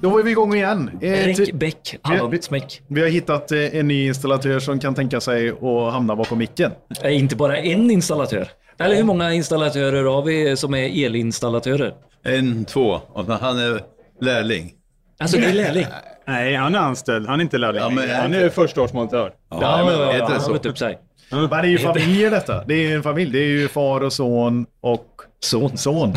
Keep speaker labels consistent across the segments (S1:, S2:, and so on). S1: Då var vi igång igen. Eh,
S2: Räck,
S1: ty-
S2: bäck,
S1: vi-
S2: hallon, smäck.
S1: vi har hittat eh, en ny installatör som kan tänka sig att hamna bakom micken.
S2: Nej, Eh, inte bara en installatör. Eller hur många installatörer har vi som är elinstallatörer?
S3: En, två. Och han är lärling.
S2: Alltså det är lärling.
S4: Nej, han är anställd. Han är inte lärling.
S3: Ja, men-
S4: han är förstaårsmontör.
S3: Ja,
S2: han
S3: heter det
S2: har
S3: så?
S2: gått upp sig.
S1: Men det är ju familjer detta. Det är ju en familj. Det är ju far och son och
S2: Son.
S1: son.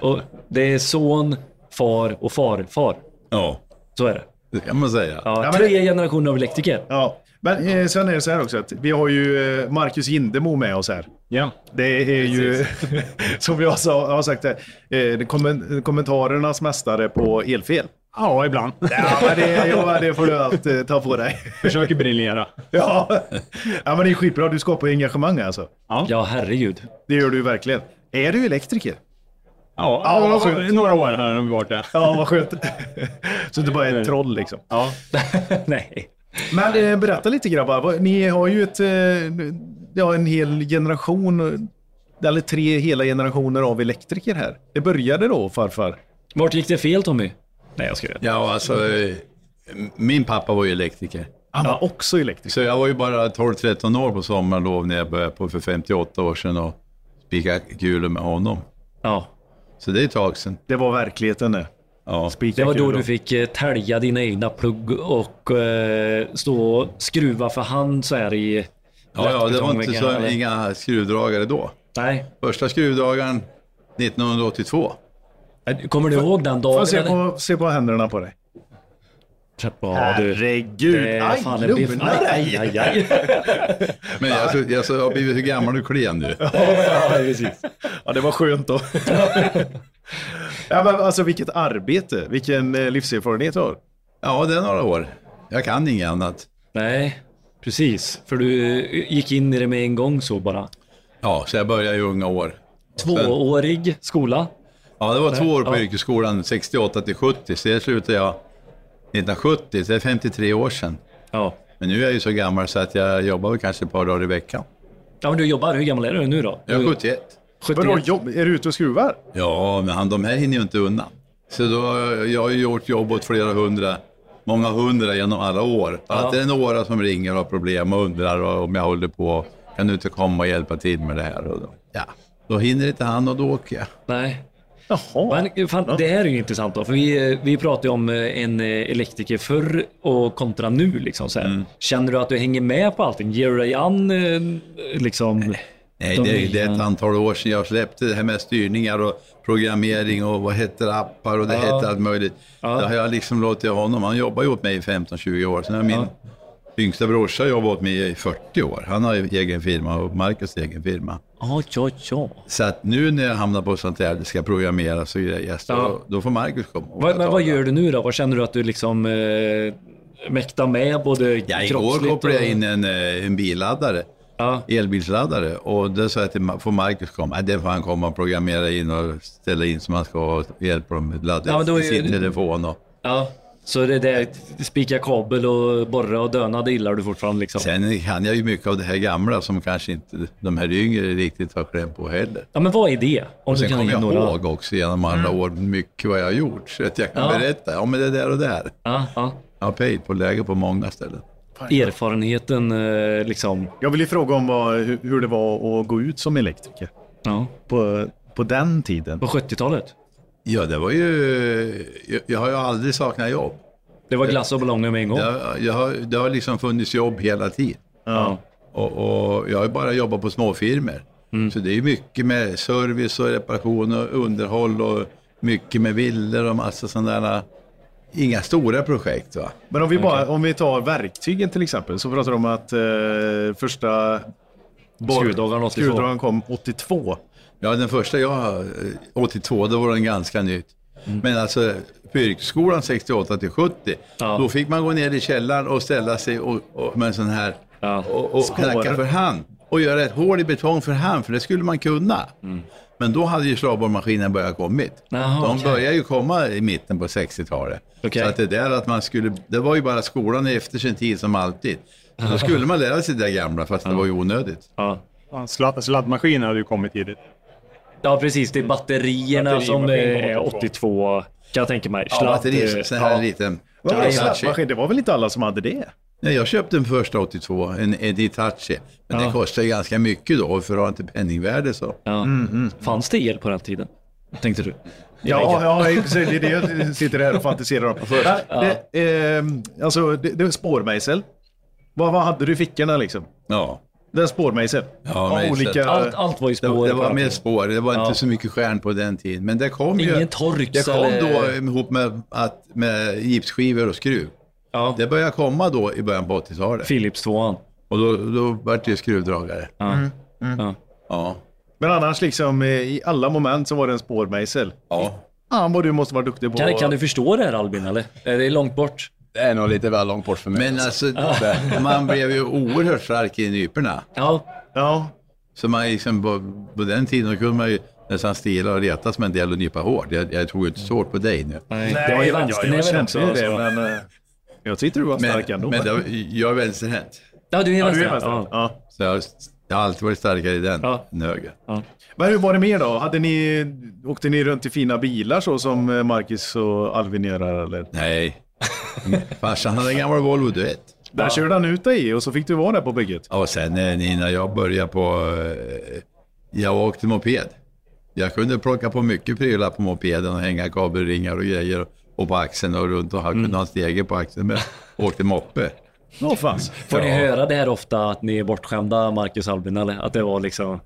S2: Och det är son, far och farfar.
S3: Ja,
S2: Så är det.
S3: det kan man säga.
S2: Ja,
S1: Ja, men
S2: tre generationer av elektriker.
S1: Ja. Men eh, sen är det så här också att vi har ju eh, Marcus Jindemo med oss här.
S4: Ja.
S1: Det är ju, som jag sa, har sagt, här, eh, det kommen, kommentarernas mästare på elfel.
S4: Ja, ibland.
S1: Ja, men det, ja, det får du allt eh, ta på dig.
S4: Försöker briljera.
S1: Ja. ja, men det är skitbra. Du skapar ju engagemang alltså.
S2: Ja, herregud.
S1: Det gör du ju verkligen. Är du elektriker?
S4: Ja,
S1: Ja, vad
S4: ja
S1: skönt.
S4: några år här har vi varit där.
S1: Ja, vad skönt. Så du bara är ett troll liksom.
S4: Ja.
S2: Nej.
S1: Men eh, berätta lite grabbar. Vad- Ni har ju ett, eh, ja, en hel generation, eller tre hela generationer av elektriker här. Det började då farfar?
S2: Vart gick det fel Tommy? Nej, jag skojar.
S3: Ja, och alltså, eh, min pappa var ju elektriker.
S1: Han var också elektriker.
S3: Så jag var ju bara 12-13 år på sommarlov när jag började på för 58 år sedan och spika kulor med honom.
S2: Ja.
S3: Så det är ett tag sedan.
S1: Det var verkligheten det.
S3: Ja.
S1: Spika
S2: Det var då
S1: kulor.
S2: du fick eh, tälja dina egna plugg och eh, stå och skruva för hand så här i...
S3: Ja, ja, det var inte
S2: lättbetongväggarna,
S3: så,
S2: eller?
S3: inga skruvdragare då.
S2: Nej.
S3: Första skruvdragaren 1982.
S2: Kommer du ihåg den
S1: Får
S2: dagen?
S1: jag se
S2: eller?
S1: på, se på händerna på dig?
S2: Ja, du.
S1: Herregud.
S2: Det är
S1: Aj,
S2: Eh, fan en biff.
S1: lugna
S2: Aj,
S1: dig.
S2: aj, aj.
S3: Men jag, alltså, jag, så- jag har blivit hur gammal och klen nu.
S1: Ja, det var skönt då. ja, men alltså vilket arbete, vilken eh, livserfarenhet du har.
S3: Ja, det är några år. Jag kan inget annat.
S2: Nej, precis. För du eh, gick in i det med en gång så bara.
S3: Ja, så jag började i unga år.
S2: Tvåårig skola.
S3: Ja, det var två år på
S2: Ja.
S3: yrkesskolan, 68 till 70. Så det slutade jag 1970, så det är 53 år sedan.
S2: Ja.
S3: Men nu är jag ju så gammal så att jag jobbar väl kanske ett par dagar i veckan.
S2: ja, men du jobbar. Hur gammal är du nu då?
S3: Jag är
S2: Du-
S3: 71.
S2: 71.
S1: Vadå, jobb? Är du ute och skruvar?
S3: Ja, men han, de här hinner ju inte undan. Så då, jag har ju gjort jobb åt flera hundra, många hundra genom alla år. Att det är några som ringer och har problem och undrar om jag håller på. Kan du inte komma och hjälpa till med det här? Och då, ja, då hinner inte han och då åker jag.
S2: Nej.
S1: Jaha.
S2: Men fan, det här är ju intressant då, för vi, eh, vi pratade ju om eh, en eh, elektriker förr och kontra nu. Liksom, så här.
S3: Mm.
S2: Känner du att du hänger med på allting? Ger du dig an eh, liksom?
S3: Nej,
S2: De
S3: det,
S2: vill-
S3: det är ett antal år sedan jag släppte det här med styrningar och programmering och vad heter appar och det heter allt möjligt. Det har jag liksom låtit honom. Han jobbar ju åt mig i 15-20 år. Sen har min yngsta brorsa jobbat åt mig i 40 år. Han har ju egen firma och Marcus egen firma.
S2: Ja, ja, ja.
S3: Så att nu när jag hamnar på sånt där, det ska programmeras och grejer, så
S2: Ja.
S3: då får Marcus komma.
S2: Vad,
S3: och
S2: men
S3: betala.
S2: vad gör du nu då? Vad känner du att du liksom eh, mäktar med både
S3: Ja, igår
S2: kroppsligt
S3: kopplade jag
S2: och-
S3: in en, eh, en billaddare.
S2: Ja.
S3: elbilsladdare och då sa jag till Ma- får Marcus komma? Nej, det får han komma och programmera in och ställa in som han ska och hjälpa dem med ladda
S2: Ja, men då är
S3: sin
S2: ju-
S3: telefon. Och.
S2: Ja, så det där spika kabel och borra och döna, det gillar du fortfarande liksom?
S3: Sen kan jag ju mycket av det här gamla som kanske inte de här yngre riktigt har kläm på heller.
S2: Ja, men vad är det? Om du
S3: Sen
S2: kan
S3: kommer
S2: ge
S3: jag
S2: några... Mm.
S3: ihåg också genom alla år mycket vad jag har gjort så att jag kan
S2: Ja.
S3: berätta. Ja, men det där och där.
S2: Ja, ja.
S3: Jag har pejt på läge på många ställen.
S2: Erfarenheten eh, liksom.
S1: Jag vill ju fråga om vad, hur, hur det var att gå ut som elektriker
S2: Ja.
S1: på, på den tiden.
S2: På 70-talet.
S3: Ja, det var ju... Jag, jag har ju aldrig saknat jobb.
S2: Det var glass och ballonger med en gång.
S3: Jag, jag har, det har liksom funnits jobb hela tiden.
S2: Ja.
S3: Och, och jag har ju bara jobbat på småfirmor. Så det är ju mycket med service och reparation och underhåll och mycket med villor och massa sådana där. Inga stora projekt va?
S1: Men om vi, bara, om vi tar verktygen till exempel så pratar de om att eh, första borr-
S2: Skruvdragaren 82.
S1: skruvdragaren kom 82.
S3: Ja, den första jag, eh, 82, då var den ganska nytt. Men alltså på yrkesskolan 68 till 70,
S2: Ja.
S3: då fick man gå ner i källaren och ställa sig och, och, med en sån här
S2: Ja.
S3: och, och
S1: Skår.
S3: knacka för hand. Och göra ett hål i betong för hand, för det skulle man kunna. Men då hade ju slagborrmaskinen börjat kommit.
S2: Jaha,
S3: De
S2: okej.
S3: började ju komma i mitten på 60-talet.
S2: Okej.
S3: Så att det där att man skulle, det var ju bara skolan efter sin tid som alltid. Så då skulle man lära sig det där gamla, fast det var ju onödigt.
S2: Ja.
S4: Fan, Sladd, sladdmaskinen hade ju kommit tidigt.
S2: ja, precis. Det är batterierna
S4: Batterier
S2: som
S4: med
S2: är
S4: en gång
S2: 82 kan jag tänka mig.
S3: Ja,
S2: Sladd,
S3: batteri,
S2: eh,
S3: sån här
S2: ja.
S3: liten.
S1: Vad var
S3: Ja,
S1: det,
S3: Hitachi.
S1: slappmaskin? det var väl inte alla som hade det?
S3: Nej, jag köpte en första 82, en Editachi. Men den kostade ju ganska mycket då, för att ha inte penningvärde så.
S2: Ja. Fanns det el på den tiden? Tänkte du?
S1: Ja, ja i och för sig, det är det jag sitter här och fantiserar om. Nej, Det, ehm, alltså, det, det var spårmejsel. Vad, vad hade du i fickorna liksom?
S3: Ja.
S1: Det är spårmejsel.
S3: Ja, mejsel.
S1: olika...
S2: Allt, allt var ju
S3: Det,
S2: spår.
S3: det
S2: på den
S3: var mer
S2: tiden.
S3: spår, det var inte så mycket stjärn på den tiden. Men det kom ju...
S2: Ingen torx
S3: Det kom då
S2: eller-
S3: ihop med, att, med gipsskivor och skruv.
S2: Ja.
S3: Det började komma då i början på 80-talet.
S2: Philips 2
S3: Och då, då var det ju skruvdragare.
S2: ja. Ja.
S3: Ja.
S1: Men annars liksom eh, i alla moment så var det en spårmejsel.
S3: ja.
S1: Fan vad du måste vara duktig på.
S2: Kan, kan du förstå det här Albin eller? Är det långt bort?
S5: Det är nog lite väl långt bort för mig.
S3: Men alltså, man blev ju oerhört stark i nyporna.
S2: Ja.
S1: Ja.
S3: Så man liksom, på, på den tiden kunde man ju nästan stila och retas med en del och nypa hårt. Jag, jag tog ju inte så hårt på dig nu.
S2: Nej, det var
S1: men
S2: ju
S1: jag, jag
S2: vänsternäven
S1: kände
S2: också.
S1: ju det,
S2: alltså.
S1: men eh, jag tyckte du var
S3: Men,
S1: stark ändå.
S3: men det, jag är vänsterhänt.
S2: Ja, du är
S1: Ja, du är
S2: vänsternäven.
S1: vänsterhänt.
S2: Ja.
S1: Ja.
S3: Så jag, jag har alltid varit starkare i den
S2: Ja.
S3: än höger.
S2: Ja.
S1: Men hur var det mer då? Hade ni, åkte ni runt i fina bilar så som eh, Marcus och Alvin gör här, eller?
S3: Nej. Farsan hade en gammal Volvo, du vet.
S1: Där körde han ut dig i och så fick du vara där på bygget.
S3: Ja, och sen eh, innan jag började på... eh, Jag åkte moped. Jag kunde plocka på mycket prylar på mopeden och hänga kabelringar och grejer och på axeln och runt och han kunde ha en stege på axeln men åkte moppe.
S1: Åh fan.
S2: Får ni höra det här ofta att ni är bortskämda Marcus och Albin eller? Att det var liksom...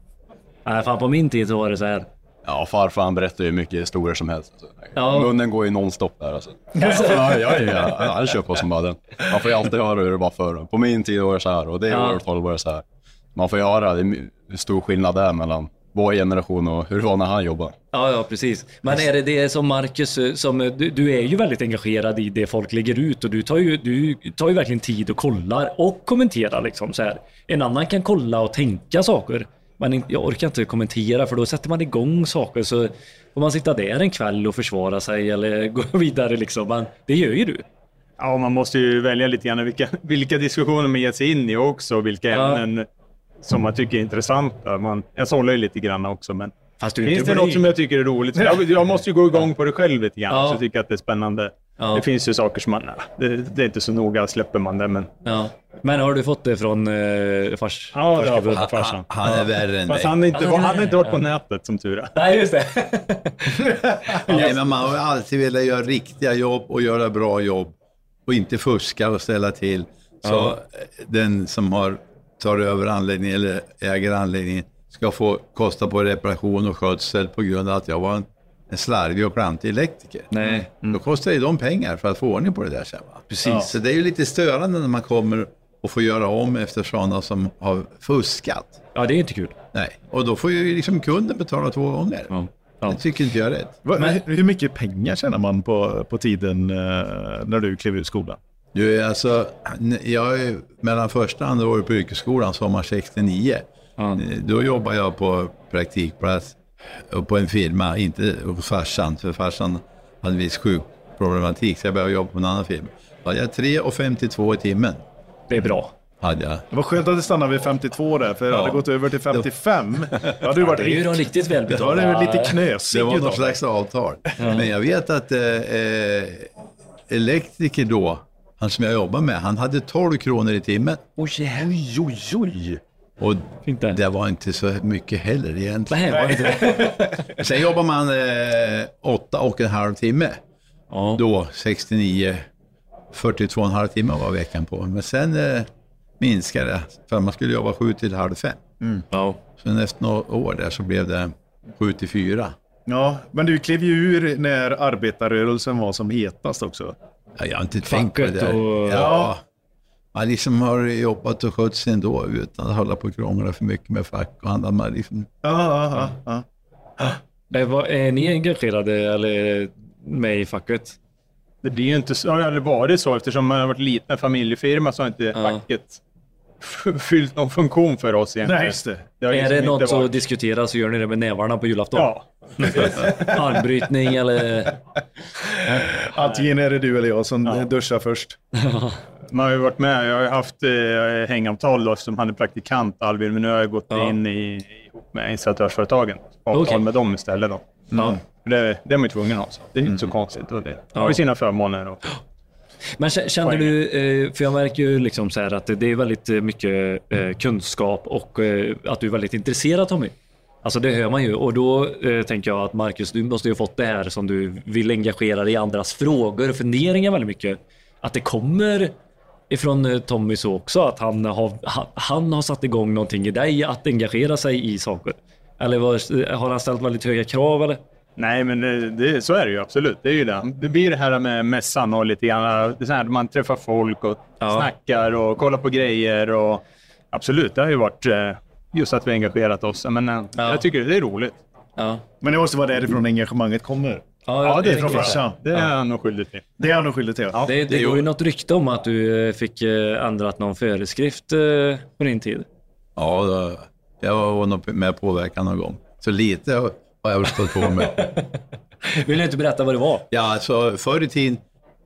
S2: Nej, fan på min tid så var det så här.
S5: Ja, farfar han berättar ju mycket historier som helst. Alltså.
S2: Ja.
S5: Munnen går ju nonstop där alltså. ja, ja, ja, ja, han kör på som bara den. Man får ju alltid höra hur det var förr. På min tid var det så här och det
S2: Ja.
S5: året håller var det så här. Man får ju höra det är my- hur stor skillnad det är mellan vår generation och hur det var när han jobbade.
S2: Ja, ja, precis. Men är det det som Marcus, eh, som, eh, du, du är ju väldigt engagerad i det folk lägger ut och du tar ju, du tar ju verkligen tid och kollar och kommenterar liksom så här. En annan kan kolla och tänka saker. Men in- jag orkar inte kommentera för då sätter man igång saker så får man sitta där en kväll och försvara sig eller gå vidare liksom. Men det gör ju du.
S4: Ja, man måste ju välja lite grann vilka, vilka diskussioner man ger sig in i också och vilka
S2: Ja.
S4: ämnen som man tycker är intressanta. Man, jag sållar ju lite grann också, men
S2: Fast du är
S4: finns
S2: inte
S4: det
S2: blyg.
S4: något som jag tycker är roligt? Jag, jag måste ju gå igång på det själv lite grann,
S2: Ja.
S4: så jag tycker att det är spännande.
S2: Ja.
S4: Det finns ju saker som man... nej, Det, det är inte så noga, släpper man det, men...
S2: Ja. Men har du fått det från eh, fars?
S4: Ja, det har
S2: farskapet?
S4: jag fått farsan.
S3: Han är värre än dig.
S4: Fast han har inte, han har inte varit på nätet, som tur är.
S2: Nej, just det.
S3: Nej, men man har alltid velat göra riktiga jobb och göra bra jobb och inte fuska och ställa till. Så eh, den som har, tar över anläggningen eller äger anläggningen ska få kosta på reparation och skötsel på grund av att jag var en, en slarvig och klantig elektriker.
S2: Nej. Mm.
S3: Då kostar ju de pengar för att få ordning på det där sen. Va? Precis. Så det är ju lite störande när man kommer och får göra om efter sådana som har fuskat.
S2: Ja, det är inte kul.
S3: Nej. Och då får ju liksom kunden betala två gånger.
S2: Ja.
S3: Det tycker inte jag är rätt.
S1: Va- hur hur mycket pengar tjänar man på, på tiden eh, när du klev ur skolan?
S3: Du, är alltså, n- jag är mellan första och andra året på yrkesskolan, sommar 69. Då jobbade jag på praktikplats och på en firma, inte hos farsan, för farsan hade viss sjukproblematik, så jag började jobba på en annan firma. Då hade jag 3,52 i timmen.
S2: Det är bra.
S3: Hade jag.
S1: Det var skönt att det stannade vid 52 där, för hade det gått över till 55, då hade du varit
S2: Det är ju
S1: riktigt...
S2: de riktigt
S1: Då hade
S2: välbetalda.
S1: du varit lite knösig
S3: Det var
S1: utav
S3: något
S1: dig.
S3: slags avtal. Men jag vet att eh, eh, elektriker då, han som jag jobbade med, han hade 12 kronor i timmen.
S2: Oj, oj, oj, oj.
S3: Och
S2: Fint där.
S3: det var inte så mycket heller egentligen.
S2: Nej, var det inte det?
S3: Sen jobbar man eh, åtta och en halv timme.
S2: Ja.
S3: Då, 69, 42 och en halv timme var veckan på. Men sen eh, minskade det, för man skulle jobba sju till halv fem.
S2: Ja.
S3: Sen efter några år där så blev det sju till fyra.
S1: Ja, men du klev ju ur när arbetarrörelsen var som hetast också.
S3: Ja, jag har inte tänkt på det
S2: Facket
S3: där.
S2: och-
S3: Ja. Man liksom har jobbat och skött sig ändå utan att hålla på och krångla för mycket med fack och annat. Man liksom,
S1: Ja, ja, ja, ja.
S2: Eh, vad- Är ni engagerade eller med i facket?
S4: Det blir ju inte så, har aldrig varit så eftersom man har varit liten familjefirma så har inte facket f- fyllt någon funktion för oss egentligen.
S1: Nej, just det.
S2: Är
S4: har liksom
S2: det
S4: inte
S2: något som
S4: varit-
S2: diskuteras så gör ni det med nävarna på julafton?
S4: Ja.
S2: Armbrytning eller...
S1: Antingen är det du eller jag som duschar först.
S4: Man har ju varit med. Jag har ju haft eh, hängavtal då, eftersom han är praktikant, Alvin, men nu har jag gått
S2: Ja.
S4: in i, ihop med installatörsföretagen. Avtal
S2: Okej.
S4: med dem istället. Då. Mm.
S2: Ja. Mm.
S4: För det, det är man ju tvungen att ha. Så. Det är ju inte så konstigt. Och det har ju sina förmåner. Och,
S2: Men k- kände du, eh, för jag märker ju liksom så här att det är väldigt eh, mycket eh, kunskap och eh, att du är väldigt intresserad Tommy. Alltså det hör man ju och då eh, tänker jag att Marcus, du måste ju ha fått det här som du vill engagera dig i andras frågor och funderingar väldigt mycket. Att det kommer ifrån eh, Tommy så också, att han har, han, han har satt igång någonting i dig att engagera sig i saker. Eller vad- har han ställt väldigt höga krav eller?
S4: nej, men det, det, så är det ju absolut. Det är ju det. Det blir det här med mässan och lite grann. Det är så här, man träffar folk och
S2: Ja.
S4: snackar och kollar på grejer. Och, absolut, det har ju varit eh, just att vi har engagerat oss. Men eh,
S2: Ja.
S4: jag tycker det är roligt.
S2: Ja,
S1: Men det måste vara därifrån engagemanget kommer.
S2: ja, jag-
S1: det är
S2: jag
S1: från
S2: tänker det.
S1: farsan.
S4: Det är han nog skyldig till.
S1: Det är han nog skyldig till.
S4: Ja.
S2: Det, det, går ju något rykte om att du eh, fick eh, ändrat någon föreskrift eh, på din tid.
S3: Ja, då, jag var nog med och påverkan någon gång. Så lite har jag väl stått på med.
S2: Vill du inte berätta vad det var?
S3: Ja, alltså förr i tiden,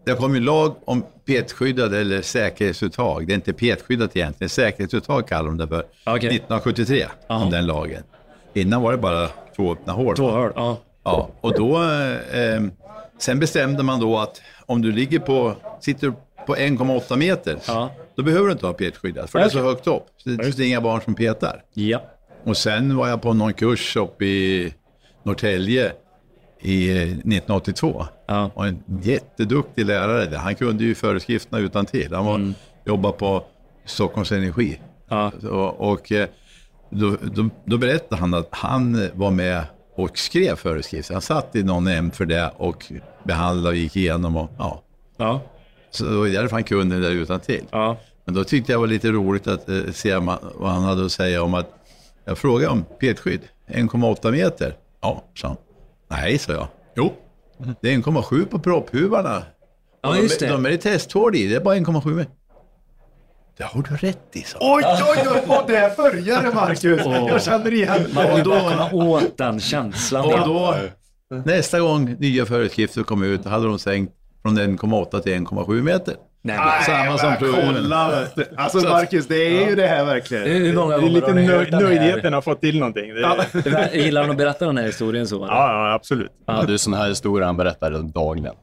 S3: det kom ju lag om petskyddade eller säkerhetsuttag. Det är inte petskyddat egentligen, säkerhetsuttag kallar de det för.
S2: Okej.
S3: 1973
S2: Aha.
S3: kom den lagen. Innan var det bara två öppna hål.
S2: Två hål. Ja.
S3: Ja, och då, eh, eh, sen bestämde man då att om du ligger på, sitter på 1,8 meter,
S2: Ja.
S3: då behöver du inte ha petskyddat, för det är så högt upp. Så det finns inga barn som petar.
S2: ja.
S3: Och sen var jag på någon kurs uppe i Norrtälje i eh, 1982.
S2: Ja.
S3: Och en jätteduktig lärare där. Han kunde ju föreskrifterna utan till. Han var, jobbade på Stockholms Energi.
S2: Ja.
S3: Och, och eh, då, då, då berättade han att han var med och skrev föreskrifter. Han satt i någon nämnd för det och behandlade och gick igenom. Och, ja.
S2: Ja.
S3: Så det var därför han kunde det där utan till.
S2: Ja.
S3: Men då tyckte jag var lite roligt att eh, se ma- vad han hade att säga om att jag frågade om petskydd, 1,8 meter. Ja, sa han. Nej, sa jag. Jo, det är 1,7 på propphuvarna.
S2: ja, just
S3: De,
S2: det.
S3: de är det testhål i, det är bara 1,7 meter. Det har du rätt i, sa han.
S1: Oj, oj, oj! Och där börjar det, Marcus. Jag känner igen
S2: Man vill
S1: det.
S2: ju bara komma åt den känslan.
S3: Och då, nästa gång nya föreskrifter kom ut, hade de sänkt från 1,8 till 1,7 meter.
S2: Nej,
S3: Samma som
S1: men
S3: proven.
S1: kolla. Alltså Marcus, det är ju det här verkligen.
S2: Hur- hur många
S1: Det är
S2: gånger
S1: lite
S2: har du
S1: nöjd-
S2: hört den här?
S4: Nöjdheten har fått till någonting. Det, ja.
S2: men- Gillar han att berätta den här historien så? eller?
S4: ja, absolut.
S5: Ja, det är sån här historia han berättar dagligen.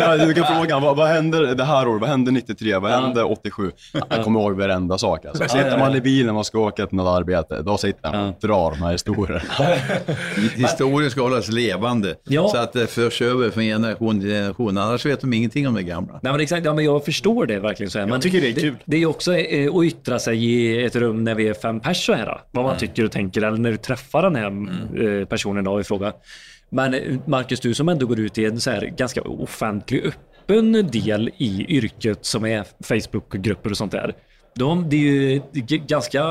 S5: Ja, du kan fråga honom, vad, vad hände det här året? Vad hände 93? Vad hände 87? Han kommer ihåg varenda sak. Alltså. Sitter man i bilen och ska åka till något arbete, då sitter han och drar de här historierna.
S3: Historien ska hållas levande,
S2: Ja.
S3: så att eh, det förs över från generation till generation. Annars vet de ingenting om det gamla.
S2: Nej, men exakt, ja, men jag förstår det verkligen. Så här. Men jag
S1: tycker det är kul.
S2: Det, är ju också eh, att yttra sig i ett rum när vi är fem pers så här. Vad
S1: Mm.
S2: man tycker och tänker eller när du träffar den här eh, personen då i fråga. Men eh, Marcus, du som ändå går ut i en så här ganska offentlig, öppen del i yrket som är Facebookgrupper och sånt där. De, det är ju det är g- ganska,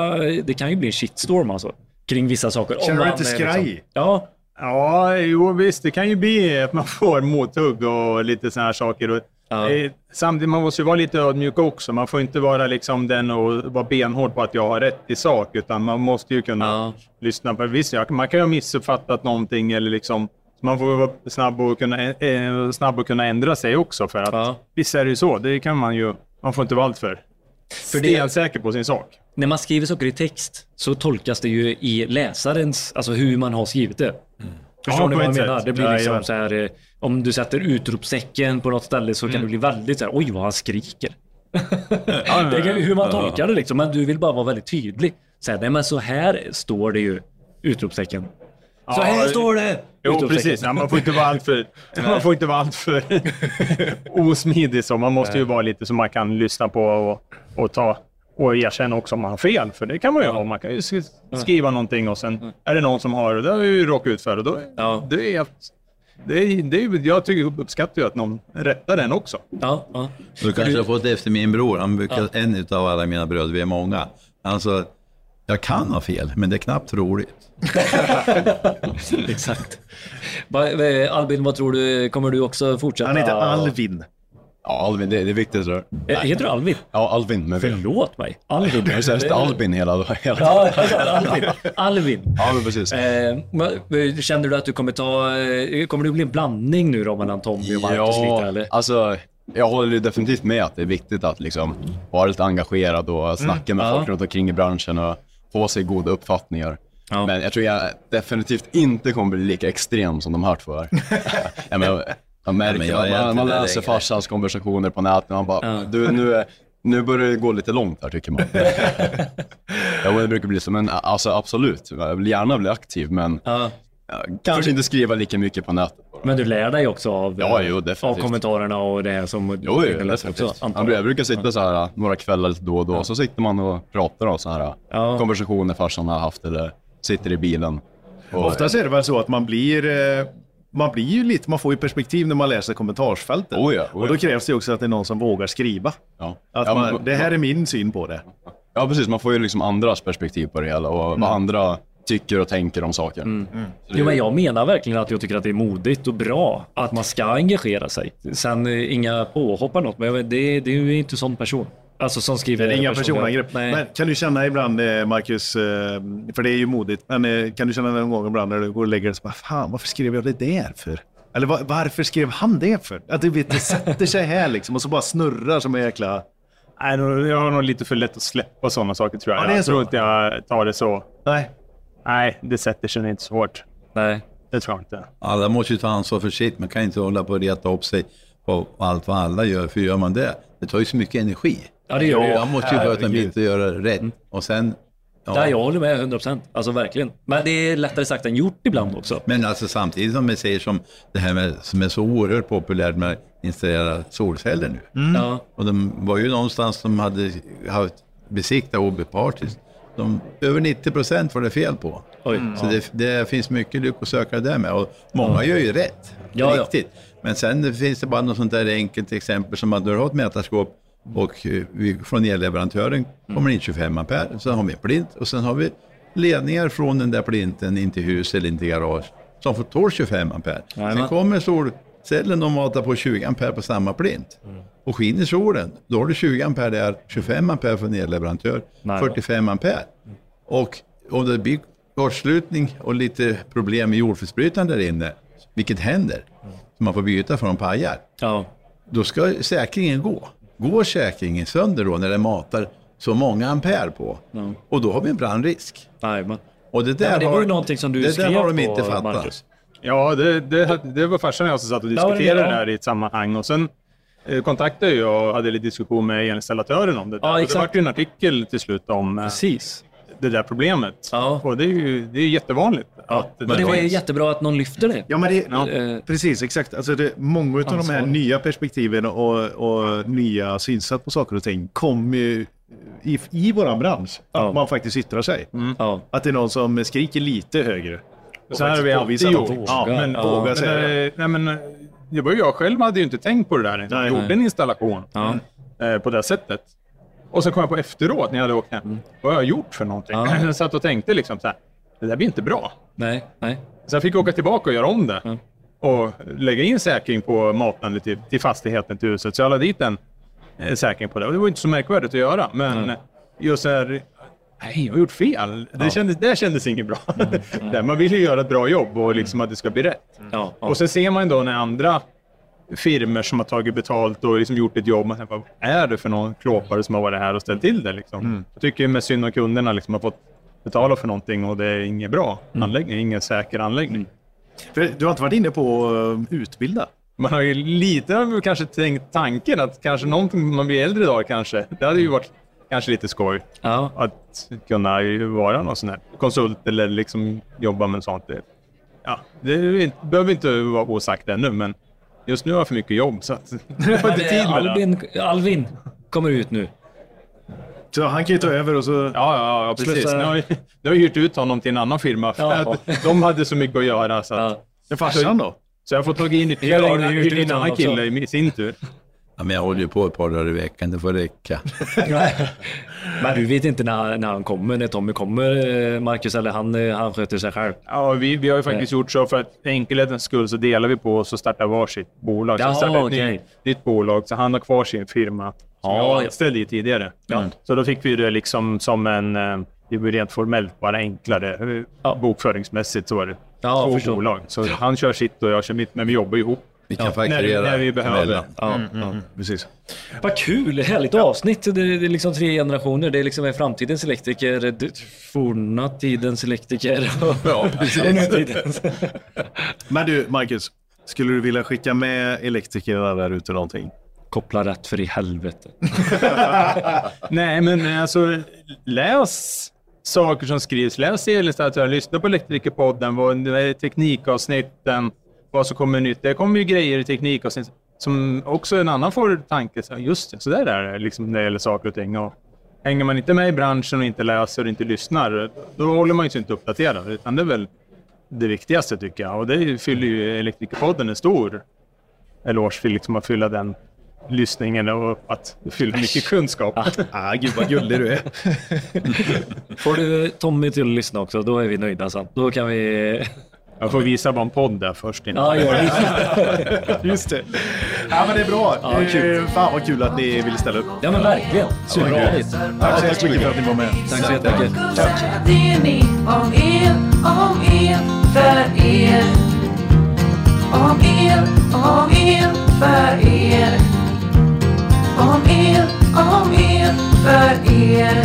S2: det kan ju bli en shitstorm alltså. Kring vissa saker.
S1: Känner
S2: Om
S1: du
S2: man
S1: lite
S2: är
S1: skraj?
S2: Liksom, ja,
S4: Ja, jo visst. Det kan ju bli att man får mothugg och lite sådana här saker. Och,
S2: Ja.
S4: eh, Samtidigt, man måste ju vara lite ödmjuk också. Man får inte vara liksom den och vara benhård på att jag har rätt i sak, utan man måste ju kunna
S2: Ja.
S4: lyssna på... Visst, jag- man kan ju ha missuppfattat någonting eller liksom... så Man får vara snabb och kunna, eh, snabb och kunna ändra sig också. För att,
S2: Ja.
S4: Visst är det ju så. Det kan man ju... Man får inte vara alltför
S2: För det-
S4: stensäker på sin sak.
S2: när man skriver saker i text så tolkas det ju i läsarens, alltså hur man har skrivit det. Förstår
S4: Ja,
S2: ni
S4: på
S2: vad jag
S4: ett
S2: menar?
S4: sätt.
S2: Det blir
S4: Ja,
S2: liksom
S4: jajamän.
S2: så här, eh, om du sätter utropstecken på något ställe så
S4: Mm.
S2: kan det bli väldigt så här, oj vad han skriker. det kan, ju- hur man tolkar det liksom, men du vill bara vara väldigt tydlig. Så här, nej men så här står det ju, utropstecken. Så
S4: Ja,
S2: här
S4: det-
S2: står det!
S4: Jo,
S2: Utropstecken.
S4: precis. Ja, man får inte vara alltför, man får inte vara alltför osmidig. Så man måste ju vara lite som man kan lyssna på och, och, ta, och erkänna också om man har fel. För det kan man ju ha. Man kan ju sk-
S1: Mm.
S4: skriva någonting och sen är det någon som har det. Det har vi ju råkat ut för. Och då,
S2: Ja.
S4: det är, det är, det är, jag tycker, uppskattar ju att någon rättar den också.
S2: Ja, ja.
S3: Du kanske har fått det efter min bror. Han brukar, En av alla mina bröder, vi är många. Han sa, jag kan ha fel, men det är knappt roligt.
S2: Exakt. Va- eh, Albin, vad tror du? Kommer du också fortsätta?
S1: Han heter Alvin.
S5: Ja, Alvin, det, det är viktigt. Så.
S2: Eh, Heter du Alvin?
S5: Ja, Alvin med V.
S2: Förlåt mig. Alvin.
S5: Jag har ju sagt Albin hela dagen.
S2: Ja, Alvin. Alvin.
S5: Ja, men precis.
S2: Eh, men, känner du att du kommer ta... eh, Kommer det bli en blandning nu då mellan Tommy och Marcus lite eller?
S5: alltså jag håller ju definitivt med att det är viktigt att liksom
S3: Mm,
S5: vara lite engagerad och snacka med folk runt omkring i branschen och få sig goda uppfattningar.
S2: Ja.
S5: Men jag tror jag definitivt inte kommer bli lika extrem som de här två är. ja, men, man märker,
S3: men jag är
S5: man,
S3: egentligen
S5: man
S3: där
S5: läser
S3: längre.
S5: farsans konversationer på nätet och man bara, du nu, är- nu börjar det gå lite långt här tycker man. ja, men det brukar bli så, men alltså absolut, jag vill gärna bli aktiv men
S2: Ja.
S5: ja, kanske inte skriva lika mycket på nätet.
S2: Men du lär dig också av,
S5: Ja,
S2: eh,
S5: jo,
S2: av
S5: definitivt.
S2: kommentarerna och det här som
S5: Jo,
S2: du
S5: jo
S2: kan läsa
S5: definitivt.
S2: antar
S5: Jag brukar sitta så här några kvällar lite då och då, så sitter man och pratar om så här
S2: Ja.
S5: konversationer farsan har haft eller sitter i bilen. Och,
S1: Oftast är det väl så att man blir... eh, Man blir ju lite, man får ju perspektiv när man läser kommentarsfältet.
S5: Oh ja, oh ja.
S1: Och då krävs det ju också att det är någon som vågar skriva.
S5: ja.
S1: Att
S5: Ja,
S1: man,
S5: men-
S1: det här är min syn på det.
S5: Ja, precis. Man får ju liksom andras perspektiv på det hela och vad andra tycker och tänker om saker. Så det-
S2: Jo, men jag menar verkligen att jag tycker att det är modigt och bra att man ska engagera sig. Sen eh, inga påhopp eller något, men jag vet, det, det är ju inte sån person. Alltså som skriver...
S1: Det är inga
S2: personliga-
S1: personangrepp.
S2: Nej.
S1: Men kan du känna ibland, eh, Marcus, eh, för det är ju modigt, men eh, kan du känna någon gång ibland när du går och lägger dig och så bara, fan varför skrev jag det där för? Eller "Va- varför skrev han det för? Att du vet, det sätter sig här liksom och så bara snurrar som en jäkla...
S4: Nej, nog- jag har nog lite för lätt att släppa sådana saker tror jag.
S1: Ja, det är
S4: jag
S1: så.
S4: tror inte jag tar det så.
S1: Nej.
S4: Nej, det sätter sig inte så hårt.
S2: Nej.
S4: Det tror jag inte.
S3: Alla måste ju ta ansvar för sitt. Man kan inte hålla på och reta upp sig på allt vad alla gör, för gör man det, det tar ju så mycket energi.
S2: Ja, det gör det ju.
S3: Man måste ju börja med att göra rätt. Och sen, ja.
S2: Ja, jag håller med 100 procent. Alltså verkligen. Men det är lättare sagt än gjort ibland också.
S3: Men alltså samtidigt som vi säger som det här med, som är så oerhört populärt med att installera solceller nu.
S5: Mm.
S2: Ja.
S3: Och de var ju någonstans de hade haft besiktat obepartiskt. De, över 90 procent var det fel på.
S2: Oj.
S3: Så det, det finns mycket lyck att söka där med. Och många gör ju rätt.
S2: Ja, ja.
S3: riktigt. Men sen finns det bara något sånt där enkelt exempel som att du har ett mätarskåp och eh, vi, från elleverantören kommer in 25 ampere. Sen har vi en plint och sen har vi ledningar från den där plinten in till hus eller in till garage som får tål 25 ampere.
S2: Jajamän.
S3: Sen kommer solcellen och matar på 20 ampere på samma plint. Och skiner solen, då har du 20 ampere där, 25 ampere från elleverantör,
S2: Nej.
S3: 45 ampere. Och om det blir kortslutning och lite problem med jordfelsbrytaren där inne, vilket händer, så man får byta för de pajar,
S2: Ja.
S3: då ska säkringen gå. Går säkringen sönder då när den matar så många ampere på? Och då har vi en brandrisk.
S2: Nej, men.
S3: Och det där
S2: men det
S3: har,
S2: var ju någonting som du
S3: det
S2: skrev
S3: där har de
S2: på,
S3: inte fattat.
S2: Marcus.
S4: Ja, det, det, det var farsan och jag som satt
S2: var
S4: och
S2: det,
S4: diskuterade
S2: ja.
S4: det här i ett sammanhang. Och sen eh, kontaktade jag och hade lite diskussion med elinstallatören om det där.
S2: Ja,
S4: Och det
S2: exakt.
S4: var en artikel till slut om eh,
S2: Precis.
S4: det där problemet.
S2: Ja.
S4: Och det är ju det är jättevanligt. att
S2: Men
S4: där
S2: det var ju
S4: finns.
S2: jättebra att någon lyfter det.
S1: Ja, men det,
S2: Eh,
S1: Precis, exakt. Alltså det, många av de här
S2: Ansvar.
S1: nya perspektiven och, och nya synsätt på saker och ting kommer ju i, i vår bransch. Att
S2: Ja. Mm.
S1: man faktiskt yttrar sig.
S2: Ja.
S1: Att det är någon som skriker lite högre.
S4: Så här har vi
S1: faktiskt
S4: alltid
S1: påvisat att-
S4: gjort. Ja,
S2: Ja,
S4: men,
S2: ja.
S4: våga
S1: Men,
S4: säga. Nej, men, eh, det var ju jag själv hade ju inte tänkt på det där. Jag
S1: Nej.
S4: gjorde
S2: Nej.
S4: en installation
S2: Ja.
S4: eh, på det sättet. Och sen kom jag på efteråt när jag hade åkt hem. Vad har jag gjort för någonting?
S2: Mm. Ja.
S4: Jag satt och tänkte liksom så här. Det där blir inte bra.
S2: Nej, nej.
S4: Sen fick jag åka tillbaka och göra om det.
S2: Mm.
S4: Och lägga in säkring på matandet till, till fastigheten, till huset. Så jag la dit en eh, säkring på det. Och det var inte så märkvärdigt att göra. Men
S2: Mm.
S4: just så här, nej, jag har gjort fel. Det, kändes, det kändes inget bra. Nej, man vill ju göra ett bra jobb och liksom att det ska bli rätt.
S2: Mm. Ja, ja.
S4: Och sen ser man då när andra firmer som har tagit betalt och liksom gjort ett jobb. Man tänker, vad är det för någon klåpare som har varit här och ställt till det? Liksom?
S2: Mm.
S4: Jag tycker ju med synd om kunderna liksom har fått betala för någonting och det är ingen bra
S2: Mm.
S4: anläggning, ingen säker anläggning.
S1: För du har inte varit inne på att eh, utbilda?
S4: Man har ju lite av kanske tänkt tanken att kanske någonting när man blir äldre idag kanske. Det hade ju varit kanske lite skoj
S2: Ja.
S4: att kunna ju vara någon sån här konsult eller liksom jobba med sånt. Det- Ja, det är ju inte- behöver inte vara osagt ännu, men just nu har jag för mycket jobb så att jag har inte tid med det.
S2: Albin, Alvin kommer ut nu.
S1: Så han kan ju ta över och så...
S4: Ja, ja, ja precis.
S2: Sluta.
S4: Nu har, jag, nu har jag hyrt ut honom till en annan firma för
S2: Ja.
S4: att de hade så mycket att göra. Så, att,
S2: Ja.
S1: Ja. Farsan då?
S4: så jag får ta in
S2: Ja,
S4: ytterligare
S2: du har
S4: en-
S2: hyrt
S4: hyrt in
S2: ut
S4: en annan
S2: honom också.
S4: kille i sin tur.
S3: Ja, men jag håller ju på ett par dagar i veckan, det får räcka.
S2: Men du vet inte när, när han kommer, när Tommy kommer, eh, Marcus, eller han, eh, han sköter sig själv.
S4: Ja, vi, vi har ju faktiskt
S2: Eh.
S4: gjort så för att för enkelhetens skull så delar vi på oss och startar varsitt bolag. Så
S2: Jaha,
S4: vi startar ett
S2: okej.
S4: nytt, nytt bolag, så han har kvar sin firma som
S2: Ja,
S4: jag var
S2: ja.
S4: anställd i tidigare. Mm. Så då fick vi det liksom som en... eh, Det blir rent formellt bara enklare. eh, Bokföringsmässigt så var det
S2: Ja,
S4: två
S2: förstår.
S4: bolag. Så han kör sitt och jag kör mitt, men vi jobbar ihop.
S3: Vi kan
S4: när, vi-
S3: fakturera.
S4: när vi behöver.
S3: emellan.
S1: Ja, ja, precis.
S2: Vad kul, härligt avsnitt. Det är, det är liksom tre generationer. Det är liksom framtidens elektriker, det- forna tidens elektriker
S3: Ja,
S2: och
S3: precis.
S2: nutidens.
S1: Men du, Marcus. Skulle du vilja skicka med elektrikerna där ute någonting?
S2: Koppla rätt för i helvete.
S4: Nej, men alltså läs saker som skrivs. Läs Elinstallatören, lyssna på Elektrikerpodden, vad det är teknikavsnitten, vad som kommer nytt. Det kommer ju grejer i teknikavsnitt som också en annan får tanke. Så, just det, så där är det liksom när det gäller saker och ting. Och hänger man inte med i branschen och inte läser och inte lyssnar, då håller man ju sig inte uppdaterad. Utan det är väl det viktigaste tycker jag. Och det fyller ju Elektrikerpodden en stor eloge för liksom att fylla den lyssningen och att fylla mycket kunskap.
S1: Ah, gud vad gullig du är.
S2: Får du Tommy till att lyssna också, då är vi nöjda sen. Då kan vi...
S4: Jag får visa vad en podd är först innan.
S2: Ja, gör det.
S1: Just det. Ja, men det är bra.
S2: Ja,
S1: Eh,
S2: kul.
S1: Fan vad kul att ni ville ställa upp.
S2: Ja, men verkligen. Superroligt.
S1: Tack så hemskt mycket för att ni var med.
S2: Tack så jättemycket.
S6: Tack. Det ni om er, om er, för er. Om er, om er, för er. Om er, om er, för er.